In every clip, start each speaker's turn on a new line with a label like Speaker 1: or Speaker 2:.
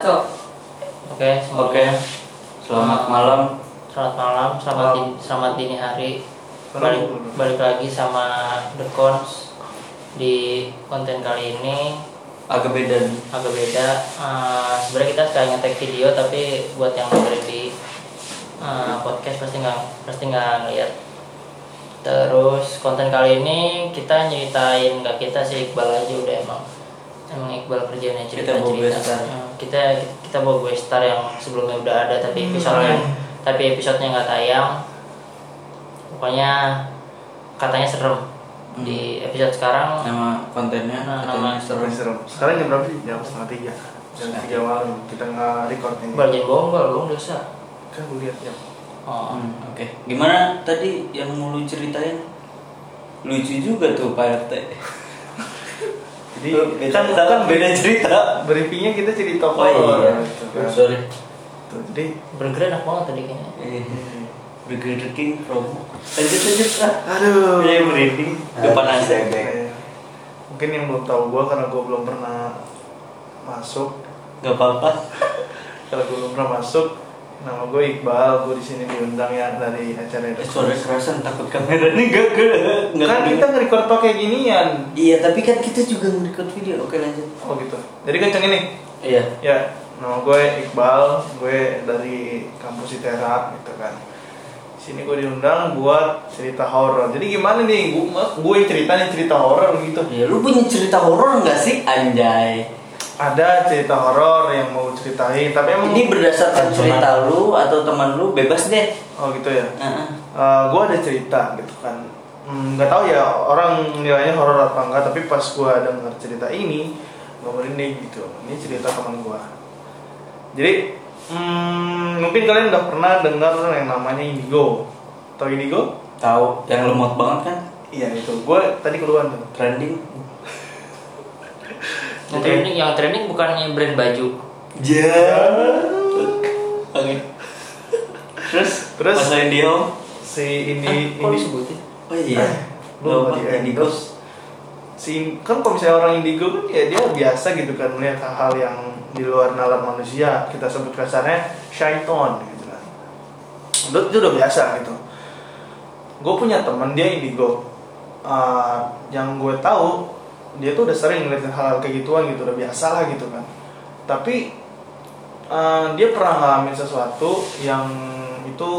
Speaker 1: Tuh.
Speaker 2: Oke,
Speaker 3: Oke,
Speaker 2: semuanya.
Speaker 3: selamat malam.
Speaker 2: Selamat malam, selamat
Speaker 3: Malam.
Speaker 2: dini, selamat dini hari.
Speaker 3: Malam.
Speaker 2: Balik balik lagi sama The Cons di konten kali ini
Speaker 3: Agak beda nih.
Speaker 2: agak beda. Eh, Sebenarnya kita sekali ngetek video tapi buat yang dengerin di eh, podcast pasti nggak pasti nggak ngeliat. Terus konten kali ini kita nyeritain nggak kita sih Iqbal aja udah emang emang Iqbal kerjanya cerita
Speaker 3: Kita bawa
Speaker 2: cerita.
Speaker 3: guest star.
Speaker 2: kita kita bawa gue star yang sebelumnya udah ada tapi episodenya
Speaker 3: Hmm.
Speaker 2: tapi episodenya nggak tayang. Pokoknya katanya serem di
Speaker 3: Hmm.
Speaker 2: episode sekarang
Speaker 3: Nama kontennya
Speaker 2: Nah,
Speaker 3: katanya
Speaker 2: nama-
Speaker 3: seru.
Speaker 4: Seru. Sekarang jam berapa sih? Jam setengah tiga. Jam
Speaker 3: Setengah
Speaker 4: tiga malam. Kita nggak record ini.
Speaker 2: Iqbal jangan bohong, Iqbal bohong dosa.
Speaker 4: Kan gue lihat jam.
Speaker 2: Oh.
Speaker 3: Hmm, Oke, gimana tadi yang mau lu ceritain? Lucu juga tuh Pak RT.
Speaker 4: Jadi
Speaker 3: Lu beda-
Speaker 4: kan
Speaker 3: kita kan beda cerita.
Speaker 4: briefingnya kita cerita
Speaker 3: Oh,
Speaker 4: horor.
Speaker 3: iya.
Speaker 4: gitu kan.
Speaker 3: Sorry.
Speaker 4: Tuh, jadi
Speaker 2: Burger enak banget tadi kayaknya.
Speaker 3: Eh, Burger King from. Lanjut lanjut lah.
Speaker 4: aduh.
Speaker 3: Iya merinding. Depan aja.
Speaker 4: Kayak- Mungkin yang belum tahu gue karena gue belum pernah masuk.
Speaker 3: Gak apa-apa.
Speaker 4: Kalau gue belum pernah masuk, nama gue Iqbal. Gue di sini diundang ya dari
Speaker 3: Eh,
Speaker 4: acara itu.
Speaker 3: Suara kerasan takut kamera nih gak ke. nggak
Speaker 4: Kan kita
Speaker 3: kedengar.
Speaker 4: nge-record pakai ginian.
Speaker 3: Iya tapi kan kita juga nge-record video. Oke lanjut.
Speaker 4: Oh gitu. Jadi kenceng ini.
Speaker 3: Iya.
Speaker 4: Ya, nama gue Iqbal, gue dari kampus ITERA gitu kan. Sini gue diundang buat cerita horor. Jadi gimana nih, gue, gue cerita nih cerita horor gitu.
Speaker 3: Ya, lu punya cerita horor nggak sih, Anjay?
Speaker 4: Ada cerita horor yang mau ceritain, tapi emang
Speaker 3: Ini berdasarkan cerita lu atau teman lu bebas deh.
Speaker 4: oh gitu ya.
Speaker 3: Heeh.
Speaker 4: Eh, gue ada cerita gitu kan. Hmm, Nggak tahu ya orang nilainya horor apa enggak, tapi pas gue denger cerita ini, gue merinding gitu. Ini cerita teman gue. Jadi hmm, mungkin kalian udah pernah dengar yang namanya indigo. Tahu indigo?
Speaker 3: Tahu yang lemot banget kan?
Speaker 4: Iya itu. Gue tadi keluar tuh.
Speaker 3: Trending.
Speaker 2: Yang
Speaker 4: Oke.
Speaker 2: trending, yang trending bukannya brand baju.
Speaker 3: Ya.
Speaker 4: Iya.
Speaker 3: Oke. Terus
Speaker 4: Terus?
Speaker 3: masain dia. Om?
Speaker 4: Si ini
Speaker 2: Eh, kok
Speaker 4: ini
Speaker 2: disebutin?
Speaker 3: Oh iya.
Speaker 4: Lu
Speaker 3: Lupa
Speaker 4: tadi, eh,
Speaker 3: Indigo.
Speaker 4: si kan kalau misalnya orang indigo kan ya dia biasa gitu kan melihat hal-hal yang di luar nalar manusia kita sebut kasarnya syaiton gitu kan itu, itu udah biasa gitu gue punya teman dia indigo Uh, yang gue tahu dia tuh udah sering ngeliat hal-hal kayak gituan gitu udah biasa lah gitu kan tapi uh, dia pernah ngalamin sesuatu yang itu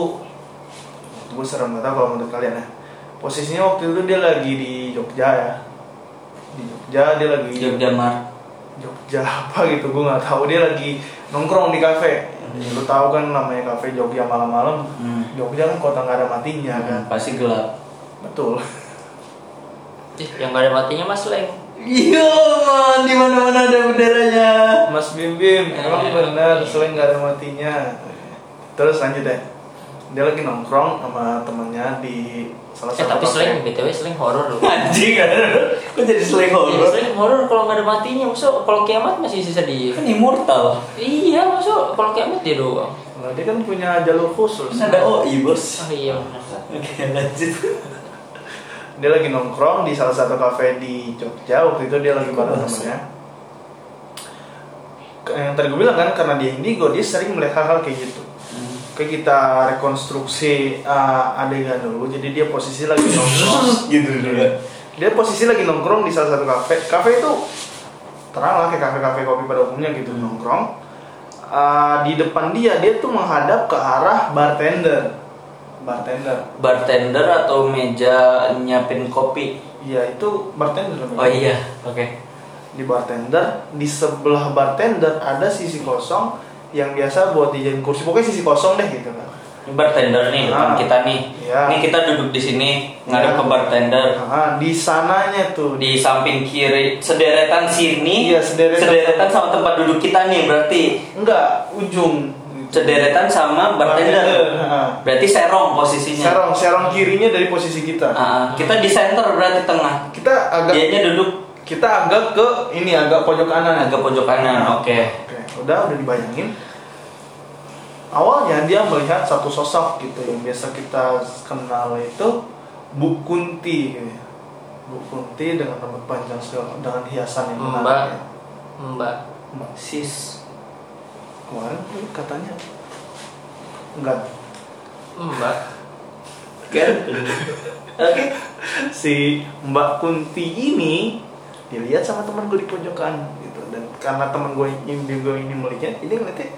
Speaker 4: gue serem gak tau kalau menurut kalian ya posisinya waktu itu dia lagi di Jogja ya di Jogja dia lagi
Speaker 3: Jogja Mar.
Speaker 4: Jogja apa gitu gue nggak tahu dia lagi nongkrong di kafe
Speaker 3: Hmm.
Speaker 4: lu tahu kan namanya kafe Jogja malam-malam
Speaker 3: Hmm.
Speaker 4: Jogja kan kota nggak ada matinya
Speaker 2: Hmm.
Speaker 4: kan
Speaker 3: Pasti gelap.
Speaker 4: betul
Speaker 2: Ih, Eh, yang gak ada matinya mas Leng.
Speaker 3: Iya, man. Di mana-mana ada benderanya.
Speaker 4: Mas Bim Bim emang
Speaker 2: Eh.
Speaker 4: bener selain nggak ada matinya terus lanjut deh dia lagi nongkrong sama temennya di salah
Speaker 2: Eh
Speaker 4: satu
Speaker 2: tapi
Speaker 4: kafe.
Speaker 2: Slang, btw Slang horor loh.
Speaker 3: Anjing. Kok jadi slang
Speaker 2: Ya,
Speaker 3: horor?
Speaker 2: Slang horor kalau gak ada matinya, masuk kalau kiamat masih sisa dia.
Speaker 3: Kan immortal.
Speaker 2: Iya, masuk kalau kiamat dia doang.
Speaker 4: Nah, dia kan punya jalur khusus
Speaker 3: Kan ada OI bos
Speaker 2: Oh iya benar.
Speaker 3: Oke lanjut
Speaker 4: dia lagi nongkrong di salah satu kafe di Jogja waktu itu dia lagi
Speaker 3: Kok
Speaker 4: bareng
Speaker 3: bahasa?
Speaker 4: temennya Ke- yang tadi gue bilang kan karena dia indigo dia sering melihat hal-hal kayak gitu
Speaker 3: Hmm.
Speaker 4: Oke kita rekonstruksi uh, adegan dulu jadi dia posisi lagi nongkrong
Speaker 3: Gitu dulu
Speaker 4: dia posisi lagi nongkrong di salah satu kafe kafe itu terang lah kayak kafe-kafe kopi pada umumnya gitu nongkrong Uh, di depan dia dia tuh menghadap ke arah bartender bartender
Speaker 3: Bartender atau meja nyiapin kopi
Speaker 4: iya itu bartender namanya.
Speaker 3: Oh iya oke
Speaker 4: di bartender di sebelah bartender ada sisi kosong yang biasa buat dijadiin kursi pokoknya sisi kosong deh gitu kan
Speaker 3: Ini bartender nih depan
Speaker 4: Ah.
Speaker 3: kita nih
Speaker 4: Iya.
Speaker 3: Ini kita duduk di sini Ngadep
Speaker 4: Iya.
Speaker 3: ke bartender
Speaker 4: Nah, di sananya tuh
Speaker 3: Di samping kiri Sederetan sini
Speaker 4: Iya, sederetan.
Speaker 3: sama tempat duduk kita nih berarti
Speaker 4: enggak ujung
Speaker 3: Sederetan sama bartender
Speaker 4: Nah,
Speaker 3: Berarti serong posisinya
Speaker 4: serong serong kirinya dari posisi kita
Speaker 3: Ah, Kita di center berarti tengah
Speaker 4: kita agak
Speaker 3: Dianya duduk
Speaker 4: kita agak ke ini agak pojok kanan
Speaker 3: agak pojok kanan Oke
Speaker 4: Oke, udah udah dibayangin. Awalnya dia melihat satu sosok gitu yang biasa kita kenal itu Bu Kunti. gitu ya. Bu Kunti dengan rambut Hmm, panjang segala- dengan hiasan yang
Speaker 2: Mbak.
Speaker 4: menarik. ya.
Speaker 2: Mbak.
Speaker 4: Mbak.
Speaker 3: Sis
Speaker 4: kemarin lu katanya enggak
Speaker 2: Mbak.
Speaker 3: Kan? Oke.
Speaker 4: si Mbak Kunti ini dilihat sama teman gue di pojokan gitu dan karena teman gue ini gue ini melihat ini ngeliatnya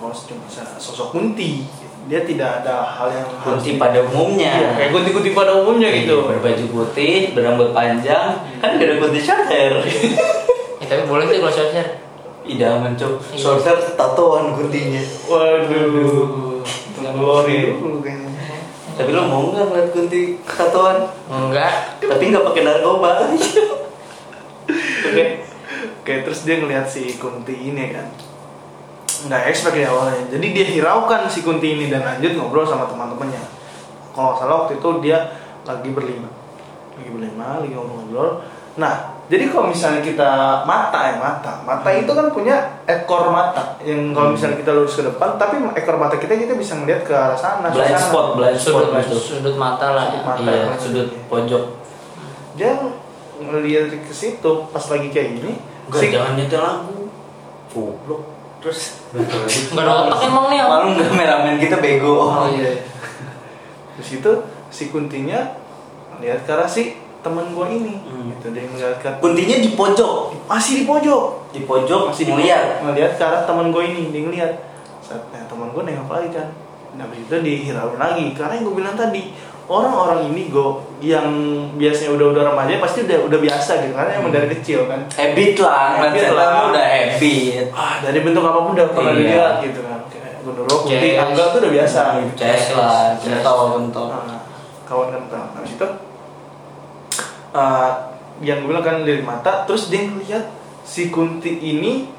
Speaker 4: oh cuma sosok Kunti dia tidak ada hal yang harus
Speaker 3: Kunti
Speaker 4: di-
Speaker 3: pada umumnya.
Speaker 4: Iya, kayak Kunti-Kunti pada umumnya gitu
Speaker 3: Berbaju putih, berambut panjang, kan gak ada Kunti Shatter.
Speaker 2: Ya, tapi boleh sih kalau short share.
Speaker 3: Idaman cok.
Speaker 2: Iya.
Speaker 3: Shatter tatoan Kuntinya.
Speaker 4: waduh tungguin dulu kayaknya
Speaker 3: Tapi lo mau nggak ngeliat Kunti tatoan?
Speaker 2: Enggak.
Speaker 3: Tapi nggak pakai narkoba.
Speaker 4: oke oke terus dia ngelihat si Kunti ini kan nggak expect ya awalnya jadi dia hiraukan si Kunti ini dan lanjut ngobrol sama teman-temannya kalau nggak salah waktu itu dia lagi berlima lagi berlima lagi ngobrol-ngobrol nah jadi kalau misalnya kita mata ya mata mata
Speaker 3: Hmm.
Speaker 4: itu kan punya ekor mata yang kalau misalnya kita lurus ke depan tapi ekor mata kita kita bisa melihat ke arah sana
Speaker 3: Blind
Speaker 4: suasana.
Speaker 3: spot, blind spot
Speaker 2: Sudut,
Speaker 3: gitu.
Speaker 2: sudut mata lah. ya.
Speaker 4: Sudut mata.
Speaker 3: Iya, sudut pojok.
Speaker 4: dia ngelihat ke situ pas lagi kayak gini
Speaker 3: Enggak,
Speaker 4: si
Speaker 3: jangan nyetel lampu. Goblok. Terus
Speaker 2: Enggak ada otak emang nih. Om.
Speaker 3: malu nggak meramen kita bego.
Speaker 2: Oh iya.
Speaker 4: di situ si kuntinya lihat ke arah si temen gue ini
Speaker 3: Hmm.
Speaker 4: gitu dia ngeliat ke
Speaker 3: Kuntinya di pojok,
Speaker 4: masih di pojok
Speaker 3: di pojok
Speaker 4: masih di
Speaker 3: ngeliat.
Speaker 4: ngeliat ke arah temen gue ini dia ngeliat saatnya temen gue nengok lagi kan nah abis itu dihirauin lagi karena yang gue bilang tadi orang-orang ini gue yang biasanya udah udah remaja pasti udah udah biasa gitu karena
Speaker 3: Hmm.
Speaker 4: emang dari kecil kan
Speaker 3: Habit lah,
Speaker 4: Habit
Speaker 3: mindset
Speaker 4: lah.
Speaker 3: kamu udah habit.
Speaker 4: ah dari bentuk apapun udah pernah
Speaker 3: Iya.
Speaker 4: dilihat gitu kan kayak gondoro putih
Speaker 2: Yes.
Speaker 4: angga tuh udah biasa gitu.
Speaker 3: Cek lah, kental kental.
Speaker 4: Nah, kawan kental habis itu eh, yang gue bilang kan dari mata terus dia ngeliat si kunti ini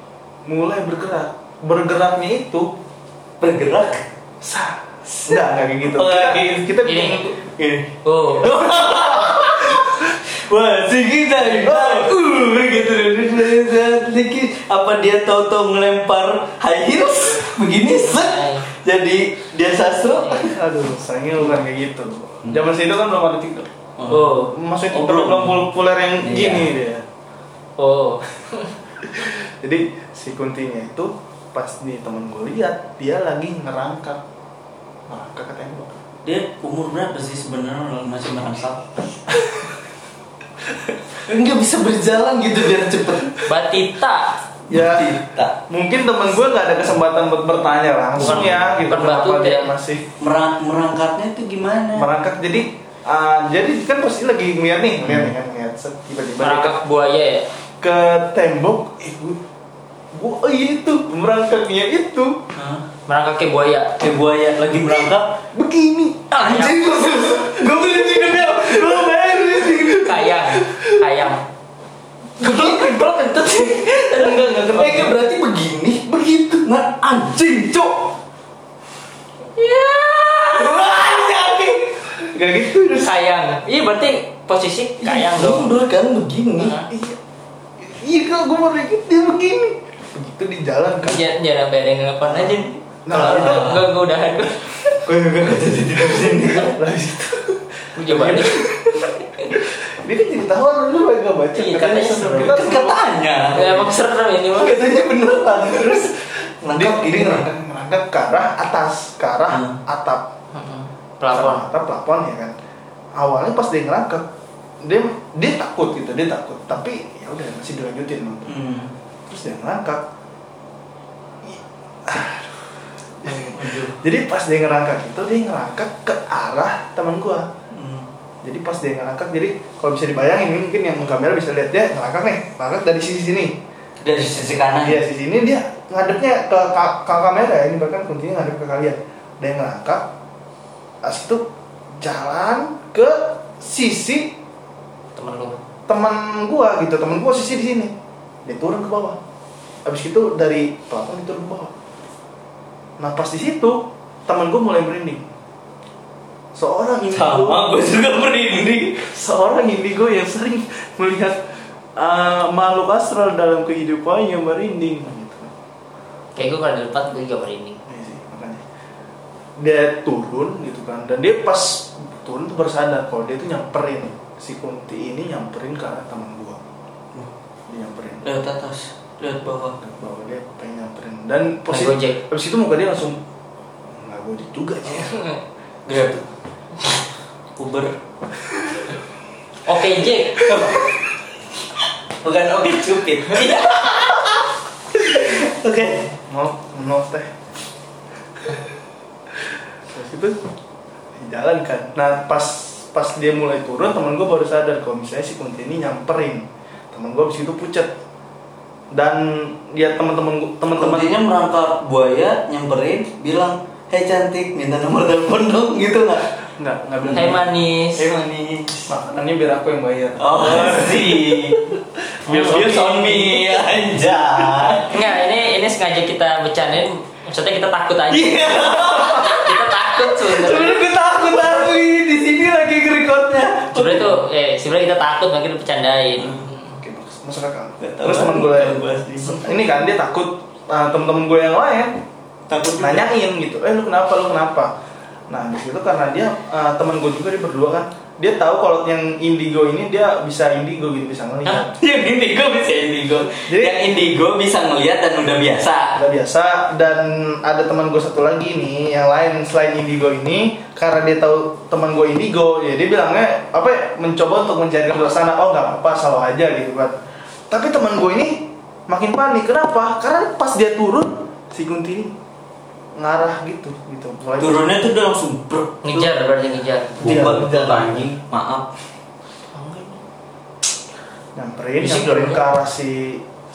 Speaker 4: mulai bergerak bergeraknya itu
Speaker 3: Bergerak.
Speaker 4: sa enggak enggak kayak gitu
Speaker 3: Oh,
Speaker 4: kita
Speaker 3: kayak gitu.
Speaker 4: kita "Eh,
Speaker 2: Gini.
Speaker 4: bikin
Speaker 3: Gini.
Speaker 2: Oh.
Speaker 3: Wah, si kita ini. Uh, gitu dikit. Apa dia toto ngelempar high heels begini
Speaker 2: Oh.
Speaker 3: set. Jadi dia sastro.
Speaker 4: aduh sayangnya bukan kayak gitu zaman situ kan belum ada tiktok
Speaker 2: Oh.
Speaker 4: maksudnya
Speaker 3: Hmm. Oh,
Speaker 4: tiktok
Speaker 3: belum.
Speaker 4: belum populer yang
Speaker 3: Iya.
Speaker 4: gini dia
Speaker 2: Oh.
Speaker 4: jadi si kuntinya itu pas di temen gue lihat dia lagi ngerangkak ngerangkak ke tembok
Speaker 3: Dia umur berapa sih sebenarnya masih merangkak? Enggak bisa berjalan gitu biar cepet.
Speaker 2: Batita.
Speaker 4: ya
Speaker 3: Tidak.
Speaker 4: mungkin temen gue nggak ada kesempatan buat bertanya langsung
Speaker 2: Bukan-
Speaker 4: ya gitu
Speaker 2: bukan
Speaker 4: kenapa
Speaker 2: batut
Speaker 4: dia
Speaker 2: ya.
Speaker 4: masih
Speaker 3: Merang merangkatnya itu gimana?
Speaker 4: merangkak jadi ah, jadi kan pasti lagi ngeliat nih ngeliat nih kan ngeliat Set, tiba-tiba dia
Speaker 2: Merangkak buaya ya.
Speaker 4: ke tembok eh gue gue oh, iya itu merangkaknya itu
Speaker 3: Hah?
Speaker 2: Merangkak kayak buaya.
Speaker 3: Kayak buaya lagi merangkak.
Speaker 4: begini
Speaker 3: Anjing.
Speaker 4: gue beli di dunia gue bayar di
Speaker 2: Kayang. Kayang.
Speaker 3: Kebelet kebelet kentut sih.
Speaker 2: Enggak, enggak, enggak.
Speaker 3: Eh, berarti begini, begitu. Nah, anjing, cok.
Speaker 2: Ya.
Speaker 4: gak gitu terus
Speaker 2: Kayang. Iya berarti posisi kayang dong.
Speaker 3: Mundur kan begini.
Speaker 2: Hah?
Speaker 4: iya iya kalau gue mau dikit dia begini begitu di jalan kan
Speaker 2: Ya, jangan sampai ada yang ngelapan aja. nih.
Speaker 4: Nah,
Speaker 2: Kalau
Speaker 4: itu-
Speaker 2: enggak, enggak, gue udahan gue.
Speaker 3: Gue gue jadi tidur sini.
Speaker 4: Habis itu,
Speaker 2: Gue coba nih.
Speaker 4: dia kan jadi tahu lu lu gak baca
Speaker 2: Iya, katanya
Speaker 4: Katanya seru.
Speaker 2: seru.
Speaker 4: kita
Speaker 3: Kan katanya.
Speaker 2: Ya emang serem ini mah.
Speaker 3: Katanya beneran. Terus
Speaker 4: dia
Speaker 3: nangkap
Speaker 4: gini
Speaker 3: gini
Speaker 4: ngerangkak ngerangkak ke arah atas ke arah
Speaker 3: Hmm.
Speaker 4: atap
Speaker 2: Heeh. Pelapon.
Speaker 4: Sama atap pelapon ya kan awalnya pas dia ngerangkak dia dia takut gitu dia takut tapi ya udah masih dilanjutin nonton
Speaker 3: Hmm.
Speaker 4: terus dia ngerangkak Ih, aduh. jadi pas dia ngerangkak itu dia ngerangkak ke arah teman gua
Speaker 3: Hmm.
Speaker 4: jadi pas dia ngangkat jadi kalau bisa dibayangin ini mungkin yang kamera bisa lihat dia ngangkat nih ngangkat dari sisi sini
Speaker 3: Dari sisi kanan.
Speaker 4: dia sisi ini dia ngadepnya ke, ka- ke kamera ya ini bahkan kuncinya ngadep ke kalian dia ngangkat as itu jalan ke sisi
Speaker 2: Temen lu.
Speaker 4: teman gua gitu teman gua sisi di sini dia turun ke bawah abis itu dari pelapon dia turun ke bawah nah pas di situ teman gua mulai merinding seorang indigo
Speaker 3: Sama gue juga merinding.
Speaker 4: seorang indigo yang sering melihat uh, makhluk astral dalam kehidupannya merinding gitu.
Speaker 2: Kayak gue kalau di depan gue juga merinding.
Speaker 4: Iya sih, makanya. Dia turun gitu kan dan dia pas turun tuh baru sadar kalau dia tuh nyamperin si Kunti ini nyamperin ke arah teman gua. Dia nyamperin.
Speaker 3: Eh. Lewat atas.
Speaker 2: lihat bawah
Speaker 4: bahwa dia pengen nyamperin dan
Speaker 2: Naik
Speaker 4: posisi
Speaker 2: Gojek.
Speaker 4: habis itu muka dia langsung nggak gojek juga ya
Speaker 3: Grab. Uber.
Speaker 2: oke Jack
Speaker 3: Bukan oh, gitu, oke cupid.
Speaker 4: oke mau mau teh terus itu jalan kan nah pas pas dia mulai turun teman gue baru sadar kalau misalnya si kunti ini nyamperin teman gue abis itu pucet dan dia teman-teman gua- teman-teman
Speaker 3: Teman-temannya merangkap buaya nyamperin bilang Hei cantik, minta nomor telepon dong gitu nggak?
Speaker 4: nggak nggak bilang
Speaker 2: Hai manis
Speaker 3: Hei manis.
Speaker 4: makanannya biar aku yang bayar
Speaker 3: Oh sih.
Speaker 4: Bills- Bills on
Speaker 3: me anjay.
Speaker 2: enggak ini ini sengaja kita bercandain maksudnya kita takut aja
Speaker 3: Iya.
Speaker 2: kita takut sebenarnya
Speaker 3: Sebenernya gue takut asli di sini lagi ngerekodnya.
Speaker 2: sebenarnya itu eh sebenarnya kita takut makanya kita bercandain
Speaker 4: Oke, mas- masuk akal.
Speaker 3: Gak tahu
Speaker 4: Terus teman
Speaker 3: lagi,
Speaker 4: gue
Speaker 3: gak tahu pasti.
Speaker 4: ini kan dia takut nah, teman-teman gue yang lain
Speaker 3: Takut juga.
Speaker 4: nanyain gitu, eh lu kenapa lu kenapa? Nah di situ karena dia eh, teman gue juga dia berdua kan, dia tahu kalau yang indigo ini dia bisa indigo gitu bisa ngelihat.
Speaker 3: Yang indigo bisa indigo.
Speaker 4: Jadi-
Speaker 3: yang indigo bisa ngelihat dan udah biasa.
Speaker 4: Udah biasa dan ada teman gue satu lagi nih yang lain selain indigo ini karena dia tahu teman gue indigo ya dia bilangnya apa ya, mencoba untuk mencari ke luar sana oh nggak apa-apa salah aja gitu kan tapi teman gue ini makin panik kenapa karena pas dia turun si kunti ini ngarah gitu gitu mulai
Speaker 3: Turunnya tuh udah langsung ber.
Speaker 2: ngejar berarti ngejar
Speaker 3: Bumbang
Speaker 4: Ngejar.
Speaker 3: anjing. Maaf.
Speaker 4: nyamperin
Speaker 2: Bisik
Speaker 4: nyamperin
Speaker 2: dong.
Speaker 4: ke arah si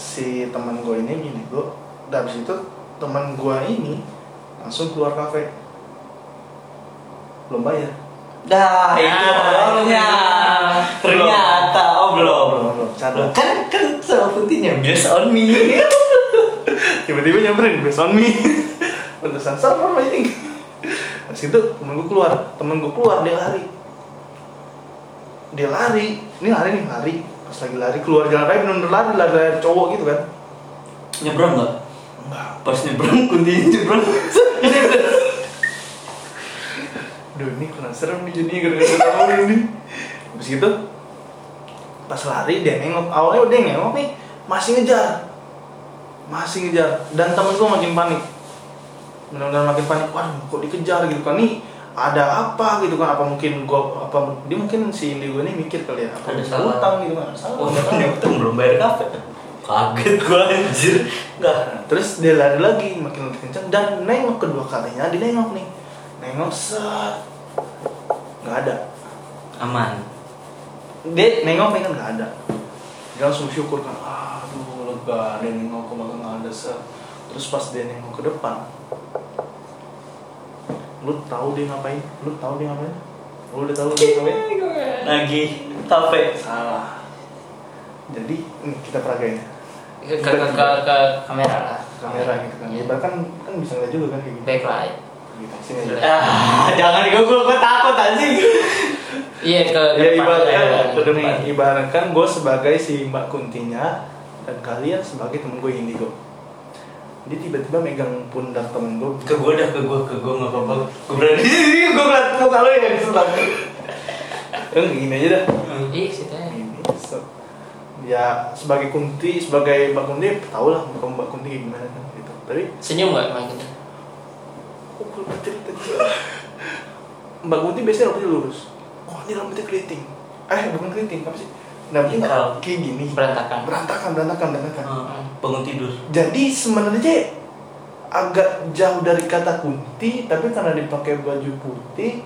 Speaker 4: si teman gue ini gini gue dan habis itu teman gue ini langsung keluar kafe belum bayar
Speaker 3: Dah itu
Speaker 2: Ah,
Speaker 3: orangnya.
Speaker 2: belum.
Speaker 3: Ternyata oh belum.
Speaker 4: belum belum
Speaker 3: Loh,
Speaker 4: sadar
Speaker 3: Kan kan sama putihnya biasa on me.
Speaker 4: tiba-tiba nyamperin based on me pantesan server ini terus itu temen gue keluar temen gue keluar dia lari dia lari ini lari nih lari pas lagi lari keluar jalan raya bener-bener lari lari, lari cowok gitu kan
Speaker 3: Nyebrang nggak?
Speaker 4: enggak
Speaker 3: Pas nyebrang kuntinya nyebrang.
Speaker 4: Duh ini kena serem nih jadi gara-gara kamu ini Habis itu Pas lari dia nengok Awalnya dia nengok nih Masih ngejar Masih ngejar Dan temen gue makin panik Bener-bener makin panik Waduh kok dikejar gitu kan Nih ada apa gitu kan apa mungkin gua apa dia mungkin si Indi gue ini mikir kali ya
Speaker 2: Ada
Speaker 4: apa ada
Speaker 2: salah. iya.
Speaker 4: utang gitu kan ada salah
Speaker 3: Oh
Speaker 4: ada salah.
Speaker 3: nyebut belum bayar kafe. Kaget gua anjir. Enggak.
Speaker 4: Nah, terus dia lari lagi makin lebih kencang dan nengok kedua kalinya dia nengok nih nengok set nggak ada
Speaker 3: Aman.
Speaker 4: dia nengok nih kan nggak ada dia langsung syukur kan aduh lega dia nengok ke belakang nggak ada se terus pas dia nengok ke depan lu tahu dia ngapain lu tahu dia ngapain lu udah tahu dia ngapain
Speaker 3: Lagi kafe.
Speaker 4: salah jadi nih, kita peragain ya
Speaker 2: ke ke ke, ke kamera lah
Speaker 4: kamera gitu kan ibarat kan kan bisa ngeliat juga kan kayak gitu
Speaker 2: backlight
Speaker 4: gitu sini aja
Speaker 3: Ah, jangan gua gua, gua takut anjing.
Speaker 2: iya ke ke
Speaker 4: ya
Speaker 2: depan.
Speaker 4: ibaratkan
Speaker 2: Ke depan.
Speaker 4: nih, ibaratkan gue sebagai si mbak kuntinya dan kalian sebagai temen gue indigo dia tiba-tiba megang pundak temen gue
Speaker 3: ke gua dah ke gua ke gua nggak apa-apa gua berani di sini gua ngeliat muka lu ya," gitu yang senang
Speaker 4: Eh, gini aja dah
Speaker 2: ih Iya, situ aja.
Speaker 4: ini set. ya sebagai kunti sebagai mbak kunti tau lah muka mbak kunti kayak gimana kan gitu tapi
Speaker 2: senyum nggak emang gitu
Speaker 4: oh, gue lupa cerita juga. mbak kunti biasanya rambutnya lurus oh ini rambutnya keriting eh bukan keriting apa sih rambutnya nggak-
Speaker 3: Ikal.
Speaker 4: kayak gini
Speaker 2: berantakan
Speaker 4: berantakan berantakan berantakan
Speaker 2: Oh.
Speaker 3: bangun tidur
Speaker 4: jadi sebenarnya agak jauh dari kata kunti tapi karena dipakai baju putih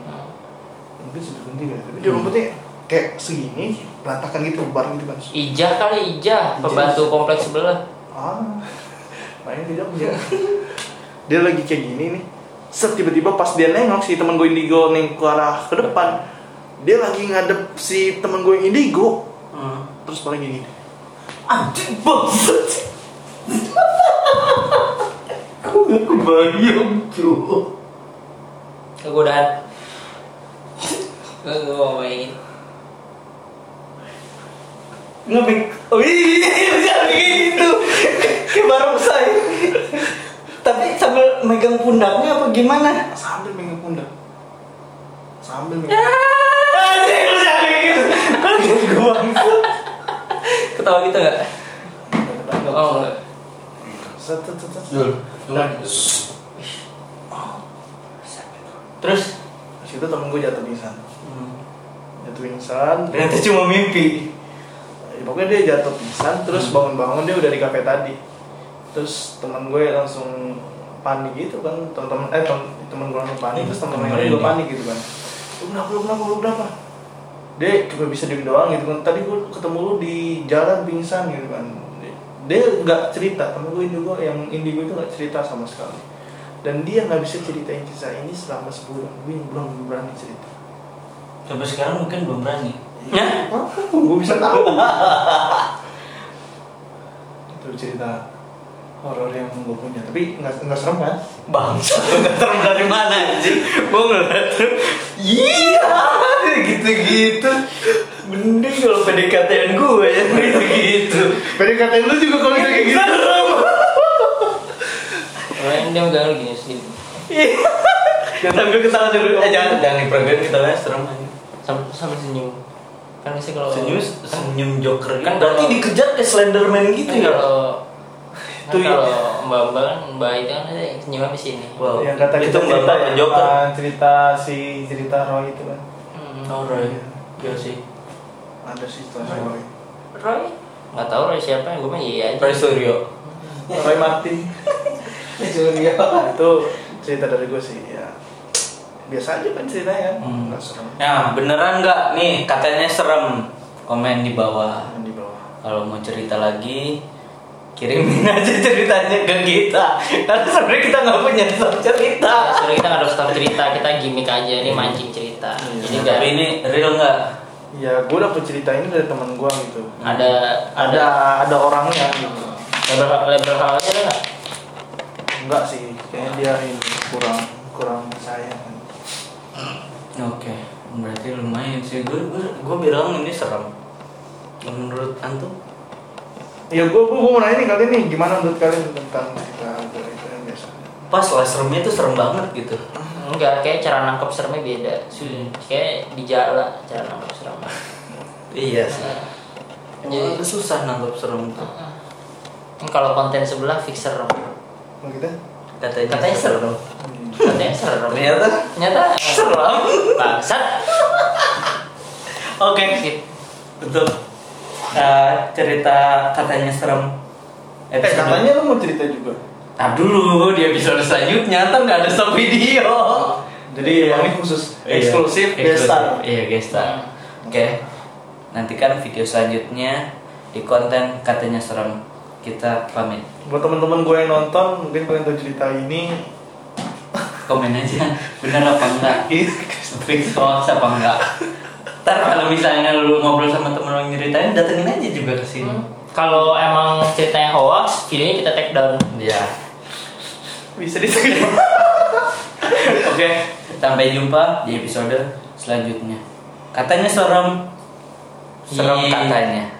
Speaker 4: mungkin sudah kunti kan tapi dia
Speaker 3: Hmm.
Speaker 4: rambutnya kayak segini berantakan gitu lebar gitu kan
Speaker 2: Ijah kali Ijah, pembantu kompleks sebelah.
Speaker 4: ah main di Jogja dia lagi kayak gini nih set tiba-tiba pas dia nengok si teman gue indigo neng ke arah ke depan dia lagi ngadep si teman gue indigo terus paling gini
Speaker 3: anjing bangsat gua nggak kebayang cuy
Speaker 2: Kegodaan. Gue mau main.
Speaker 3: ngepik wih jangan gitu kayak barongsai tapi sambil megang pundaknya apa gimana
Speaker 4: sambil megang pundak sambil
Speaker 2: Ya.
Speaker 4: megang
Speaker 3: anjing lu jangan kayak gitu gua bangsat
Speaker 2: Ketawa gitu nggak?
Speaker 4: pundak
Speaker 2: Oh, nggak.
Speaker 4: Set, set, set, set.
Speaker 5: Dul.
Speaker 4: Dan-
Speaker 2: Terus
Speaker 4: Di situ temen gue jatuh pingsan. Jatuh pingsan.
Speaker 5: Ternyata cuma mimpi.
Speaker 4: Ya, pokoknya dia jatuh pingsan terus bangun-bangun dia udah di kafe tadi terus teman gue langsung panik gitu kan teman-teman eh tem- teman gue langsung panik terus teman
Speaker 5: Temen
Speaker 4: teman juga
Speaker 5: ini.
Speaker 4: panik gitu kan lu kenapa lu kenapa lu kenapa dia cuma bisa diem doang gitu kan tadi gue ketemu lu di jalan pingsan gitu kan dia nggak cerita temen gue indigo yang indigo itu nggak cerita sama sekali dan dia nggak bisa ceritain kisah ini selama sebulan gue belum berani cerita
Speaker 3: Sampai sekarang mungkin belum berani.
Speaker 5: Ya?
Speaker 4: gue bisa tahu itu cerita horor yang gue punya tapi nggak nggak serem kan
Speaker 5: Bangsa. Nggak tahu dari mana anjing. Gue ngeliat tuh. Iya. Gitu-gitu. Mending kalau PDKT-an gue ya gitu-gitu.
Speaker 4: PDKT lu juga kalau kita kayak gitu
Speaker 2: orang dia megang lu gini sendiri.
Speaker 5: Sambil ketawa dulu. Eh jangan jangan diperagain kita lah serem aja.
Speaker 2: Sambil, sambil senyum. Kan sih kalau
Speaker 3: Senyum senyum joker Iya. gitu.
Speaker 2: Kan
Speaker 5: Berarti
Speaker 2: kalau-
Speaker 5: dikejar kayak Slenderman
Speaker 2: Kan
Speaker 5: gitu ya.
Speaker 2: kalau kan
Speaker 5: Tuh, iya.
Speaker 2: kalau mbak-mbak kan mbak itu kan ada yang senyum habis ini.
Speaker 5: Wow.
Speaker 4: yang kata
Speaker 5: itu
Speaker 4: kita
Speaker 5: Mbak
Speaker 4: cerita
Speaker 5: Mbak
Speaker 4: ya,
Speaker 5: Joker.
Speaker 4: ah, cerita si cerita Roy itu kan
Speaker 2: Hmm.
Speaker 3: Oh, Roy. Iya sih.
Speaker 4: ada sih cerita Roy
Speaker 2: Roy? Nggak tahu Roy siapa, gue mah iya aja.
Speaker 3: Roy Suryo.
Speaker 4: Roy Martin
Speaker 5: Surya.
Speaker 4: Nah, itu cerita dari gue sih ya biasa aja kan ceritanya
Speaker 3: Hmm.
Speaker 4: nggak serem
Speaker 5: Nah,
Speaker 3: Beneran nggak nih katanya serem? Komen di bawah.
Speaker 4: yang di bawah
Speaker 3: Kalau mau cerita lagi kirimin aja ceritanya ke kita. Karena sebenarnya kita nggak punya stok cerita.
Speaker 2: Sebenarnya Ya, kita nggak ada start cerita, kita gimmick aja ini mancing cerita.
Speaker 4: Iya.
Speaker 2: Jadi nggak
Speaker 3: Tapi ini real nggak?
Speaker 4: ya gue dapet cerita ini dari teman gue gitu
Speaker 2: ada
Speaker 4: ada ada orangnya gitu
Speaker 2: label label halnya ada nggak?
Speaker 4: enggak sih kayaknya dia ini kurang kurang percaya kan
Speaker 3: Oke. Berarti lumayan sih. Gue gue gue bilang ini serem. Menurut antum?
Speaker 4: ya gue gue mau nanya nih kalian nih gimana menurut kalian tentang cerita horor itu yang biasa
Speaker 3: Pas lah seremnya tuh serem banget gitu.
Speaker 2: Enggak, kayak cara nangkep seremnya beda. Kayak di jala cara nangkep serem.
Speaker 3: Iya sih.
Speaker 2: Jadi-
Speaker 3: Jadi susah nangkap serem tuh.
Speaker 2: Ini Kan kalau konten sebelah fix serem.
Speaker 4: mau kita
Speaker 3: Katanya,
Speaker 2: Katanya serem.
Speaker 3: Hmm.
Speaker 2: Katanya serem. ya.
Speaker 3: Ternyata
Speaker 2: Ternyata
Speaker 3: serem.
Speaker 2: bangsat. gitu.
Speaker 3: Oke. Betul. Eh, cerita katanya serem.
Speaker 4: eh
Speaker 3: Episode-
Speaker 4: katanya lu mau cerita juga
Speaker 3: Tar dulu di episode selanjutnya ntar nggak ada stop video.
Speaker 4: jadi emang ini khusus
Speaker 3: Iya.
Speaker 4: eksklusif
Speaker 3: Eksklusif.
Speaker 4: besar
Speaker 3: Iya gestar.
Speaker 2: Hmm.
Speaker 3: Oke. Nantikan video selanjutnya di konten katanya serem. Kita pamit.
Speaker 4: buat teman-teman gue yang nonton mungkin kalian tahu cerita ini
Speaker 3: komen aja bener apa enggak fix hoax apa enggak ntar kalau misalnya lu ngobrol sama temen lu yang nyeritain datengin aja juga ke sini
Speaker 2: Hmm. Kalau emang ceritanya hoax, videonya kita take down.
Speaker 3: ya
Speaker 4: bisa disini
Speaker 3: oke sampai jumpa di episode selanjutnya katanya serem serem
Speaker 2: Yeay.
Speaker 3: katanya